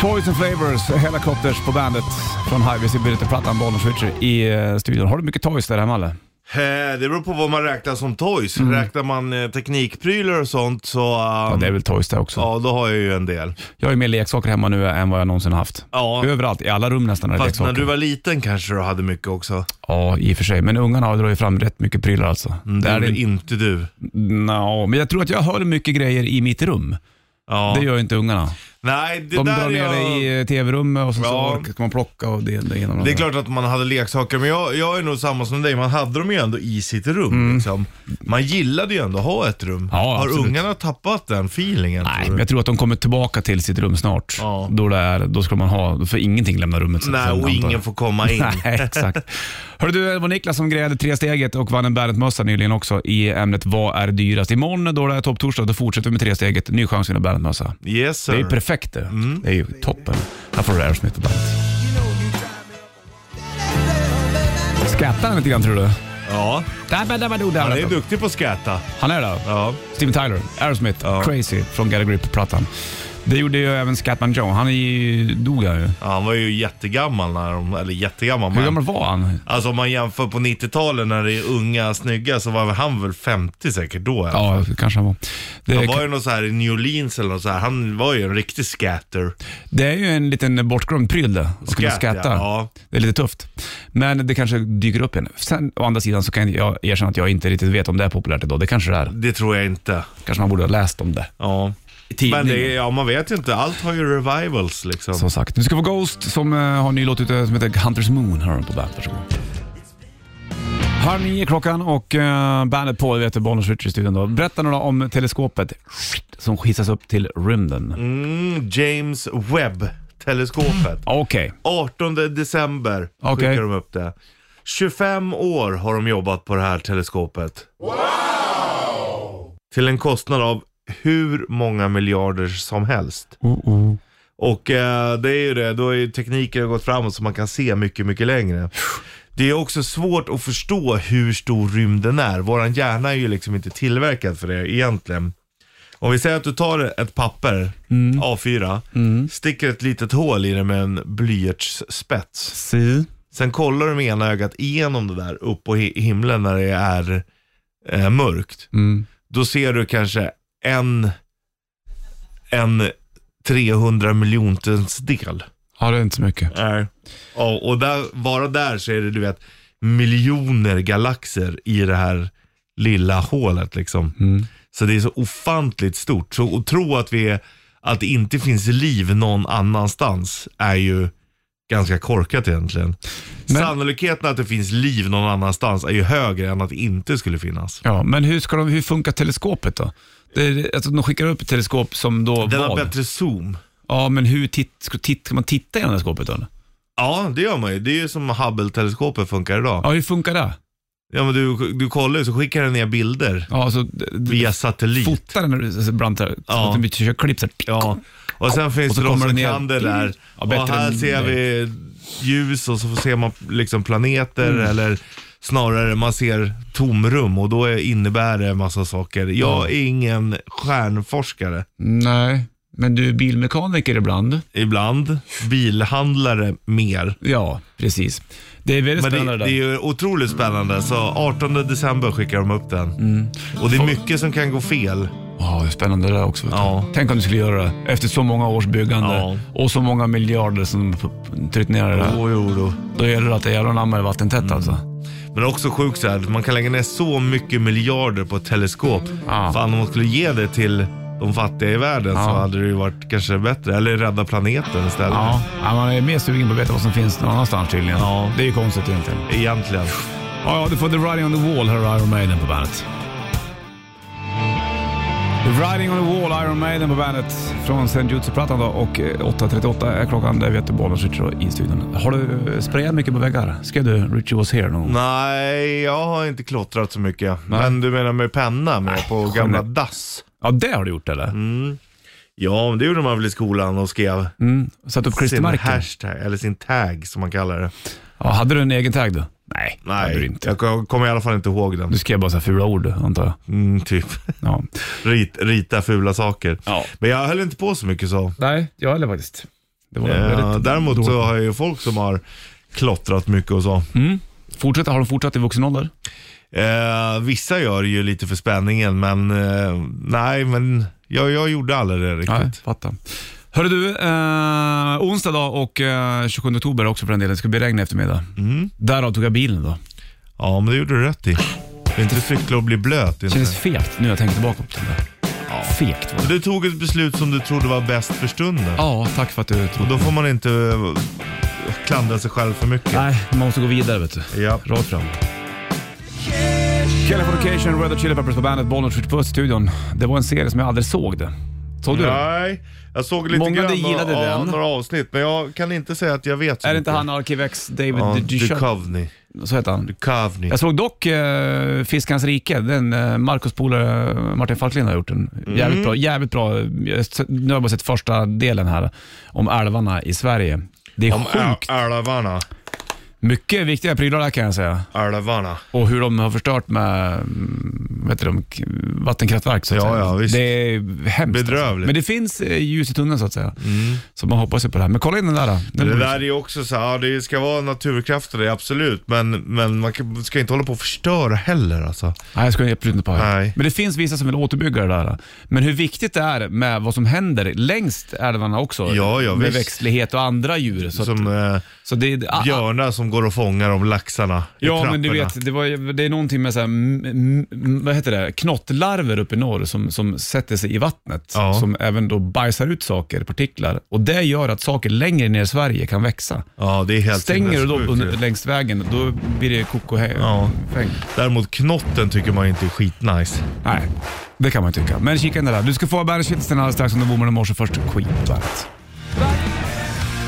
Speaker 2: Toys and Flavors, Helicopters på bandet från Highways i Birteplattan, Bollnäs Switcher i eh, studion. Har du mycket toys där hemma eller?
Speaker 3: Eh, Det beror på vad man räknar som toys. Räknar man eh, teknikprylar och sånt så...
Speaker 2: Mm. Ja,
Speaker 3: ehm,
Speaker 2: det är väl toys där också.
Speaker 3: Ja, då har jag ju en del.
Speaker 2: Jag har ju mer leksaker hemma nu än vad jag någonsin haft.
Speaker 3: Ja.
Speaker 2: Överallt, i alla rum nästan är det
Speaker 3: Fast när
Speaker 2: leksaker.
Speaker 3: du var liten kanske du hade mycket också.
Speaker 2: Ja, i och för sig. Men ungarna har dragit fram rätt mycket prylar alltså.
Speaker 3: Mm, Det
Speaker 2: är
Speaker 3: är
Speaker 2: inte-
Speaker 3: inte du.
Speaker 2: Nja, men jag tror att jag höll mycket grejer i mitt rum.
Speaker 3: Ja.
Speaker 2: Det gör ju inte ungarna.
Speaker 3: Nej, det
Speaker 2: De
Speaker 3: där
Speaker 2: drar ner
Speaker 3: jag...
Speaker 2: det i eh, tv-rummet och sen
Speaker 3: Ja.
Speaker 2: så ska man plocka och det, det ena och
Speaker 3: Det
Speaker 2: andra.
Speaker 3: är klart att man hade leksaker, men jag, jag är nog samma som dig. Man hade dem ju ändå i sitt rum. Liksom. Man gillade ju ändå att ha ett rum.
Speaker 2: Mm. Ja,
Speaker 3: Har
Speaker 2: absolut.
Speaker 3: ungarna tappat den feelingen?
Speaker 2: Nej,
Speaker 3: tror
Speaker 2: men
Speaker 3: du?
Speaker 2: jag tror att de kommer tillbaka till sitt rum snart.
Speaker 3: Ja.
Speaker 2: Då, det är, då ska man ha, då får ingenting lämna rummet. sen- sen,
Speaker 3: Nej, och
Speaker 2: antar jag.
Speaker 3: ingen får komma in.
Speaker 2: Nej, exakt. Hörru du, det var Niklas som grejade tre steget och vann en Bandet-mössa nyligen också i ämnet Vad är dyrast? Imorgon då det är topptorsdag, då fortsätter vi med tre steget. Ny chans att vinna Bandet-mössa.
Speaker 3: Yes
Speaker 2: Det
Speaker 3: sir.
Speaker 2: är ju perfekt. effekter.
Speaker 3: Mm.
Speaker 2: Det är ju toppen. Här får du Aerosmith på bandet. Skrattar han lite grann tror du?
Speaker 3: Ja, han är
Speaker 2: Han
Speaker 3: duktig på att skäta.
Speaker 2: Han är det?
Speaker 3: Ja.
Speaker 2: Steven Tyler, Aerosmith,
Speaker 3: Ja.
Speaker 2: Crazy från Get a Grip-plattan. Det gjorde ju även Scatman Joe. Han är ju, dog han ju.
Speaker 3: Ja, Han var ju jättegammal när de, eller jättegammal
Speaker 2: Hur
Speaker 3: men.
Speaker 2: gammal var han?
Speaker 3: Alltså om man jämför på 90-talet när det är unga snygga så var väl han väl 50 säkert då. eller?
Speaker 2: Ja, kanske han var. Det,
Speaker 3: Han var ju någon så här i New Orleans eller något så här. Han var ju en riktig scatter.
Speaker 2: det är ju en liten bortglömd pryl det, att kunna
Speaker 3: Scat, ja.
Speaker 2: skratta.
Speaker 3: Ja.
Speaker 2: Det är lite tufft. Men det kanske dyker upp igen. Sen, å andra sidan så kan jag erkänna att jag inte riktigt vet om det är populärt idag. Det kanske det är.
Speaker 3: Det tror jag inte.
Speaker 2: Kanske man borde ha läst om det.
Speaker 3: Ja. Men det, är- ja, man vet ju inte. Allt har ju revivals liksom.
Speaker 2: Som sagt, nu ska vi få Ghost som eh, har en ny låt ute som heter Hunters Moon. Hör den på bandet, varsågod. Halv nio klockan och uh, bandet på, vet du, Bonus Richard i studion då. Berätta några om teleskopet som hissas upp till rymden.
Speaker 3: Mm, James Webb-teleskopet.
Speaker 2: Okej,
Speaker 3: 18 december
Speaker 2: Okej.
Speaker 3: skickar de upp det. 25 år har de jobbat på det här teleskopet. Wow! Till en kostnad av hur många miljarder som helst. Och eh, det är ju det, då är ju tekniken gått framåt så man kan se mycket, mycket längre. Det är också svårt att förstå hur stor rymden är. Våran hjärna är ju liksom inte tillverkad för det egentligen. Om vi säger att du tar ett papper, A4, sticker ett litet hål i det med en blyertsspets.
Speaker 2: si.
Speaker 3: Sen kollar du med ena ögat igenom det där upp på hi- himlen när det är eh, mörkt.
Speaker 2: Mm.
Speaker 3: Då ser du kanske en, en 300 miljontens del.
Speaker 2: Ja, det är inte så mycket.
Speaker 3: Är. Ja, och där, bara där så är det du vet miljoner galaxer i det här lilla hålet liksom.
Speaker 2: Mm.
Speaker 3: Så det är så ofantligt stort. Så att tro att, vi är, att det inte finns liv någon annanstans är ju ganska korkat egentligen.
Speaker 2: Men-
Speaker 3: Sannolikheten att det finns liv någon annanstans är ju högre än att det inte skulle finnas.
Speaker 2: Ja, men hur, ska de, hur funkar teleskopet då? Det är, alltså, de skickar upp ett teleskop som då
Speaker 3: Den har
Speaker 2: vad?
Speaker 3: bättre zoom.
Speaker 2: Ja, men hur titt, ska, titt, ska man titta genom det här skåpet då? eller?
Speaker 3: Ja, det gör man ju. Det är ju som Hubble-teleskopet funkar idag.
Speaker 2: Ja, hur funkar det?
Speaker 3: Ja, men du, du kollar ju så skickar den ner bilder
Speaker 2: Ja, alltså, d- d-
Speaker 3: via satellit.
Speaker 2: fotar den när du alltså, brantar,
Speaker 3: Ja.
Speaker 2: så att du kör klipp så här.
Speaker 3: Ja, och sen finns
Speaker 2: Och så
Speaker 3: det de
Speaker 2: kommer
Speaker 3: som
Speaker 2: det ner.
Speaker 3: kan det där.
Speaker 2: Ja, bättre
Speaker 3: och här
Speaker 2: än
Speaker 3: ser
Speaker 2: mig. Mm.
Speaker 3: vi ljus och så ser man liksom planeter eller snarare man ser tomrum och då är, innebär det en massa saker. Jag är ingen stjärnforskare.
Speaker 2: Nej, men du är bilmekaniker ibland.
Speaker 3: Ibland. Bilhandlare mer.
Speaker 2: Ja, precis. Det är väldigt
Speaker 3: Men
Speaker 2: spännande det,
Speaker 3: det, det är ju otroligt spännande. Så 18 december skickar de upp den.
Speaker 2: Mm.
Speaker 3: Och det är mycket som kan gå fel.
Speaker 2: Ja, det är spännande det där också. vet du.
Speaker 3: Ja.
Speaker 2: Tänk om du skulle göra det efter så många års byggande
Speaker 3: Ja.
Speaker 2: och så många miljarder som p- p- tryckt ner det där.
Speaker 3: Jo, jo, jo.
Speaker 2: Då gäller det att det jävla namn är vattentätt
Speaker 3: Mm.
Speaker 2: alltså.
Speaker 3: Men det är också sjukt så här, att man kan lägga ner så mycket miljarder på ett teleskop.
Speaker 2: Ja.
Speaker 3: Fan, om man skulle ge det till de fattiga i världen så
Speaker 2: Ja.
Speaker 3: hade det ju varit kanske bättre. Eller rädda planeten istället.
Speaker 2: Ja. ja, man är mer sugen på att veta vad som finns någon annanstans tydligen.
Speaker 3: Ja.
Speaker 2: Det är ju konstigt egentligen.
Speaker 3: Egentligen.
Speaker 2: Ja, ja, du får The Riding on the Wall här Iron Maiden på bandet. The Riding on the Wall, Iron Maiden på bandet från St. Judes-plattan då och eh, 8.38 är klockan. Det vet du, Bollnäs Richard i studion. Har du eh, sprayat mycket på väggar? Skrev du Richie was here
Speaker 3: Mm.
Speaker 2: någon gång?
Speaker 3: Nej, jag har inte klottrat så mycket. Men du menar med penna med på gamla dass?
Speaker 2: Ja, det har du gjort eller?
Speaker 3: Mm. Ja, men det gjorde man väl i skolan och skrev
Speaker 2: Mm. Satt upp
Speaker 3: sin
Speaker 2: klistermärken?
Speaker 3: hashtag, eller sin tag som man kallar det.
Speaker 2: Ja, hade du en egen tag då? Nej, det hade du
Speaker 3: Nej,
Speaker 2: inte. Mm.
Speaker 3: jag kom- kommer i alla fall inte ihåg den.
Speaker 2: Du skrev bara så här fula ord antar jag.
Speaker 3: Mm, typ
Speaker 2: Ja.
Speaker 3: Rit, rita fula saker.
Speaker 2: Ja.
Speaker 3: Men jag höll inte på så mycket så.
Speaker 2: Nej, jag heller faktiskt. Det var
Speaker 3: Ja,
Speaker 2: väldigt
Speaker 3: Eh, däremot så
Speaker 2: dåligt.
Speaker 3: har jag ju folk som har klottrat mycket och så.
Speaker 2: Fortsätt, har de fortsatt i vuxen ålder?
Speaker 3: Eh, vissa gör ju lite för spänningen, men eh, nej, men jag, jag gjorde aldrig det riktigt.
Speaker 2: Nej, fattar. Hörru du, eh, onsdag då och eh, 27 oktober också för den delen. Det ska bli regn i eftermiddag. Därav tog jag bilen då.
Speaker 3: Ja, men det gjorde du rätt i. Det är inte cykla och bli blöt. det är
Speaker 2: Kändes
Speaker 3: Inte.
Speaker 2: fegt nu när jag tänker tillbaka på det. Ja. Fegt var det.
Speaker 3: Du tog ett beslut som du trodde var bäst för stunden.
Speaker 2: Ja, tack för att du
Speaker 3: Och
Speaker 2: trodde.
Speaker 3: då får man inte eh, klandra sig själv för mycket.
Speaker 2: Nej, man måste gå vidare vet du.
Speaker 3: Ja.
Speaker 2: Rakt fram. Californication, Red Hot Chili Peppers på bandet, Bollnäs skjuter på studion. Det var en serie som jag aldrig såg det. Såg du den?
Speaker 3: Nej, jag såg lite
Speaker 2: Många
Speaker 3: grann
Speaker 2: gillade
Speaker 3: av, av
Speaker 2: den.
Speaker 3: några avsnitt, men jag kan inte säga att jag vet så
Speaker 2: Är det inte
Speaker 3: mycket.
Speaker 2: han Arkivex David
Speaker 3: Ja,
Speaker 2: Duchovny?
Speaker 3: Duchovny.
Speaker 2: Så heter han.
Speaker 3: Duchovny.
Speaker 2: Jag såg dock eh, Fiskans rike, den eh, Marcos polare eh, Martin Falklin har gjort den. Jävligt
Speaker 3: Mm.
Speaker 2: bra. Jävligt bra. Jag har sett- Nu har jag bara sett första delen här, om älvarna i Sverige. Det är
Speaker 3: Om Ä-
Speaker 2: sjukt.
Speaker 3: Älvarna.
Speaker 2: Mycket viktiga prylar där kan jag säga.
Speaker 3: Älvarna.
Speaker 2: Och hur de har förstört med mm, vad heter de, k- vattenkraftverk. Så att
Speaker 3: Ja,
Speaker 2: säga.
Speaker 3: ja, visst.
Speaker 2: Det är hemskt. alltså.
Speaker 3: Bedrövligt. Mm.
Speaker 2: Men det finns eh, ljus i tunneln så att säga. Så man hoppas ju på det här. Men kolla in den där. då. Den
Speaker 3: Det
Speaker 2: borde-
Speaker 3: där är ju också så här, ja, det ska vara naturkrafter, det är absolut, men, men man kan, ska inte hålla på och förstöra heller alltså.
Speaker 2: Nej, jag skulle absolut inte på det.
Speaker 3: Nej.
Speaker 2: Men det finns vissa som vill återbygga det där. Men hur viktigt det är med vad som händer längs älvarna också.
Speaker 3: Ja, ja,
Speaker 2: med
Speaker 3: visst.
Speaker 2: växtlighet och andra djur. Så,
Speaker 3: Som
Speaker 2: att,
Speaker 3: eh,
Speaker 2: så det är... ah, ah.
Speaker 3: björnar som går och fångar de laxarna i
Speaker 2: Ja, men du
Speaker 3: trapporna.
Speaker 2: vet, det, var, ju- det är någonting med så här, m, m, m- vad heter det? knottlarver uppe i norr som, som sätter sig i vattnet.
Speaker 3: Ja.
Speaker 2: Som även då bajsar ut saker, partiklar. Och det gör att saker längre ner i Sverige kan växa.
Speaker 3: Ja, det är helt
Speaker 2: Stänger du då
Speaker 3: sinnessjukt
Speaker 2: under,
Speaker 3: ju.
Speaker 2: längs vägen, då blir det koko
Speaker 3: Ja.
Speaker 2: fäng.
Speaker 3: Däremot knotten tycker man inte är skitnice.
Speaker 2: Nej, det kan man ju tycka. Men kika in det där. Du ska få Bandit Shitsen alldeles strax under Boomen i morse. Först Queen på Bandet.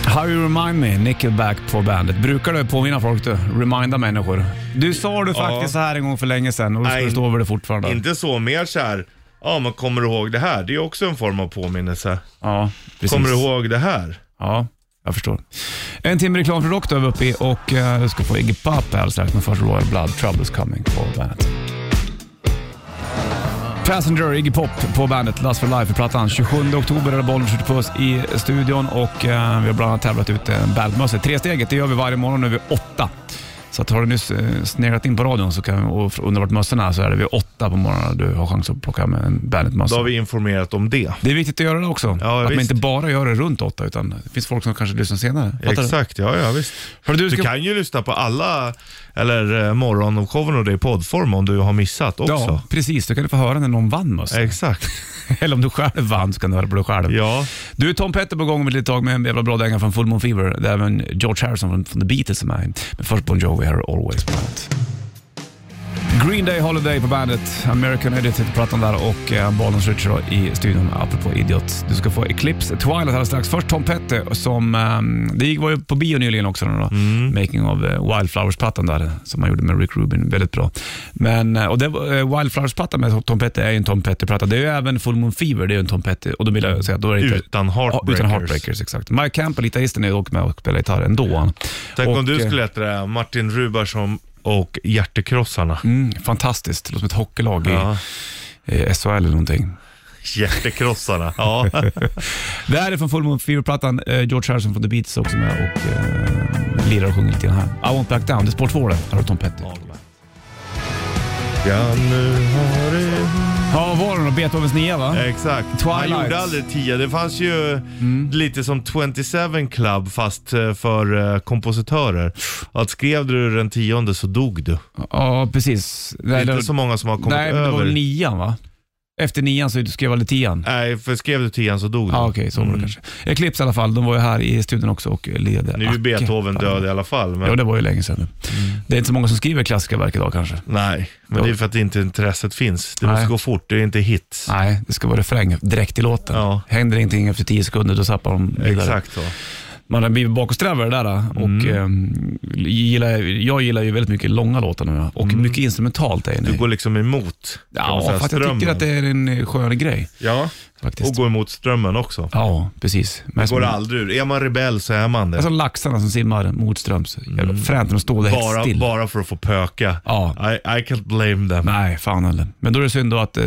Speaker 2: How you remind me, Nickelback på bandet. Brukar du påminna folk du? Reminda människor. Du sa du faktiskt så här en gång för länge sedan och du ska
Speaker 3: Nej,
Speaker 2: stå över det fortfarande.
Speaker 3: Inte så, mer så här. ja men kommer du ihåg det här? Det är också en form av påminnelse.
Speaker 2: Ja, precis.
Speaker 3: Kommer du ihåg det här?
Speaker 2: Ja, jag förstår. En timme reklam för rock då är vi uppe i och eh, du ska få Iggy Pop alldeles strax, men först Royal Blood, Troubles Coming på bandet. Passenger, Iggy Pop på bandet, Last for Life i plattan. 27 oktober är det bollen skjuter på oss i studion och eh, vi har bland annat tävlat ut eh, en bandmössa. Tresteget, det gör vi varje morgon nu vid åtta. Så att har du nyss eh, sneglat in på radion så kan, och undrar vart mössan är så är det vid åtta på morgonen du har chans att plocka med en
Speaker 3: Då har
Speaker 2: bandmössa.
Speaker 3: vi informerat om det.
Speaker 2: Det är viktigt att göra det också.
Speaker 3: Ja,
Speaker 2: att man
Speaker 3: visst.
Speaker 2: inte bara gör det runt åtta, utan det finns folk som kanske lyssnar senare. Fattar du?
Speaker 3: Exakt, ja ja visst.
Speaker 2: Hörru, du,
Speaker 3: Du
Speaker 2: ska...
Speaker 3: kan ju lyssna på alla, eller eh, morgon och showen och det i poddform om du har missat också.
Speaker 2: Ja, precis. Då kan du få höra när någon vann mössan.
Speaker 3: Exakt.
Speaker 2: Eller om du själv vann så kan du höra på dig själv.
Speaker 3: Ja.
Speaker 2: Du, är Tom Petter på gång om ett litet tag med en jävla bra dänga från Full Moon Fever. Det är även George Harrison från, från The Beatles som är med. Men först Bon Jovi här, Always på bandet. Green Day Holiday på bandet. American Idiot heter plattan där och eh, Bollens Richard då i studion, apropå Idiot. Du ska få Eclipse Twilight alldeles strax. Först Tom Petty som, eh, det gick- var ju på bio nyligen också, den då,
Speaker 3: Mm.
Speaker 2: Making of eh, Wildflowers-plattan där som man gjorde med Rick Rubin. Väldigt bra. Men, eh, och det, var- eh, Wildflowers-plattan med Tom Petty är ju en Tom Petty-platta. Det är ju även Full Moon Fever, det är ju en Tom Petty. Och då vill jag säga att då är det inte...
Speaker 3: Utan
Speaker 2: Ja,
Speaker 3: heartbreakers.
Speaker 2: Utan Heartbreakers, exakt. Mike Campbell, gitarristen, är ju dock med och spelar gitarr ändå. han.
Speaker 3: Tänk
Speaker 2: och,
Speaker 3: om du
Speaker 2: eh,
Speaker 3: skulle heta det här, Martin Rubarsson och Hjärtekrossarna.
Speaker 2: Mm, fantastiskt, det låter som ett hockeylag
Speaker 3: Ja.
Speaker 2: i eh, SHL eller någonting.
Speaker 3: Hjärtekrossarna. ja.
Speaker 2: Det här är från Full Moon Fever-plattan. Eh, George Harrison från The Beatles också med och eh, lirar och sjunger lite grann här. I Won't Back Down, det är Sport 2 det. Här har Tom Petty.
Speaker 3: ja, nu har du...
Speaker 2: Ja, var det då? Beethovens nia va?
Speaker 3: Exakt.
Speaker 2: Twilight. Mm.
Speaker 3: Han gjorde aldrig 10. Det fanns ju lite som 27 Club fast eh, för eh, kompositörer. Att skrev du den tionde så dog du.
Speaker 2: Ja, precis.
Speaker 3: Det
Speaker 2: Nej,
Speaker 3: är
Speaker 2: det-
Speaker 3: inte så många som har kommit
Speaker 2: Nej, men det var
Speaker 3: över.
Speaker 2: väl nian va? Efter nian så skrev jag väl tian.
Speaker 3: Nej, för skrev du tian så dog Mm. du.
Speaker 2: Ja, okej, så var det kanske. Eclipse i alla fall, de var ju här i studion också och lirade.
Speaker 3: Nu är ju
Speaker 2: Acke.
Speaker 3: Beethoven Mm. död i alla fall. Men...
Speaker 2: Ja, Ah, det var ju länge sedan nu. Det är inte så många som skriver klassiska verk idag kanske.
Speaker 3: Nej, men det är för att inte intresset finns. Det måste
Speaker 2: Nej.
Speaker 3: gå fort, det är inte hits.
Speaker 2: Nej, det ska vara refräng direkt i låten.
Speaker 3: Ja.
Speaker 2: Händer ingenting efter tio sekunder, då zappar de vidare.
Speaker 3: Exakt så.
Speaker 2: Man har blivit bakåtsträvare där. då.
Speaker 3: Mm.
Speaker 2: Och, ehm, gillar, jag gillar ju väldigt mycket långa låtar nu eh, och mycket instrumentalt är det
Speaker 3: Mm. Du
Speaker 2: nu.
Speaker 3: går liksom emot kan man
Speaker 2: Ja,
Speaker 3: säga,
Speaker 2: fast jag tycker att det är en eh, skön grej
Speaker 3: Ja,
Speaker 2: faktiskt.
Speaker 3: och gå emot strömmen också.
Speaker 2: Ja, precis. Men
Speaker 3: Går
Speaker 2: som,
Speaker 3: aldrig ur. Är man rebell så är man
Speaker 2: det är
Speaker 3: det.
Speaker 2: som laxarna som simmar motströms. Jävla Fränt när de står där Alltså, helt
Speaker 3: Mm. Bara,
Speaker 2: still.
Speaker 3: bara för att få pöka.
Speaker 2: Ja.
Speaker 3: I, I can't blame them.
Speaker 2: Nej, fan heller. Men då är det synd då att eh,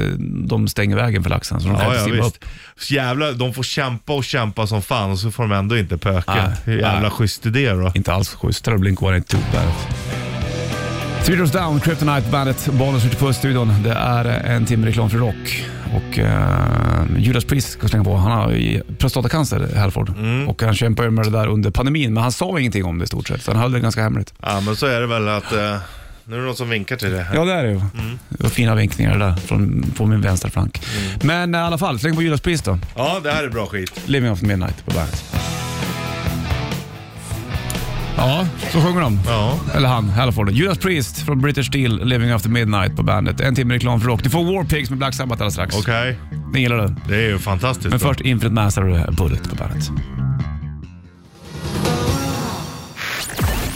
Speaker 2: de stänger vägen för laxarna så de kan
Speaker 3: Ja,
Speaker 2: inte
Speaker 3: ja,
Speaker 2: simma upp.
Speaker 3: visst. Så Jävla, de får kämpa och kämpa som fan och så får de ändå inte pöka.
Speaker 2: Nej,
Speaker 3: Hur jävla
Speaker 2: nej.
Speaker 3: schysst är det då?
Speaker 2: Inte alls schysst. Där har Blink-182 på bandet. Three Doors Down, Kryptonite bandet, Bollnäs ute på studion. Det är eh, en timme reklam för rock. Och eh, Judas Priest ska slänga på. Han har ju prostatacancer, Halford. Och han kämpade med det där under pandemin, men han sa ingenting om det i stort sett. Så han höll det ganska hemligt.
Speaker 3: Ja, men så är det väl att... eh, nu är det någon som vinkar till det.
Speaker 2: Ja, det är det ju. Det var fina vinkningar där från, från min vänstra flank. Men eh, i alla fall, släng på Judas Priest då.
Speaker 3: Ja, det här är bra skit.
Speaker 2: Living of Midnight på bandet. Ja, så sjunger de.
Speaker 3: Ja.
Speaker 2: Eller han, Halford. Judas Priest från British Steel, Living After Midnight på bandet. En timme reklam för rock. Du får War Pigs med Black Sabbath alldeles strax.
Speaker 3: Okej.
Speaker 2: Den gillar du.
Speaker 3: Det är ju fantastiskt
Speaker 2: Men
Speaker 3: bra.
Speaker 2: först Infinite Master och Bullet på bandet.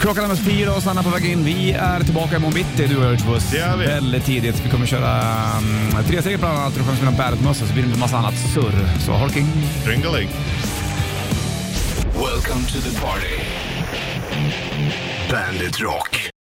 Speaker 2: Klockan är närmast fyra och Sanna på väg in. Vi är tillbaka imorgon bitti, du och jag Ritchbuss.
Speaker 3: Det är vi.
Speaker 2: Väldigt tidigt. Vi kommer köra um, tre steg bland annat och du kommer spela bandet så blir det en massa annat surr. Så håll king.
Speaker 3: Tringeling.
Speaker 1: Welcome to the party. Bandit Rock.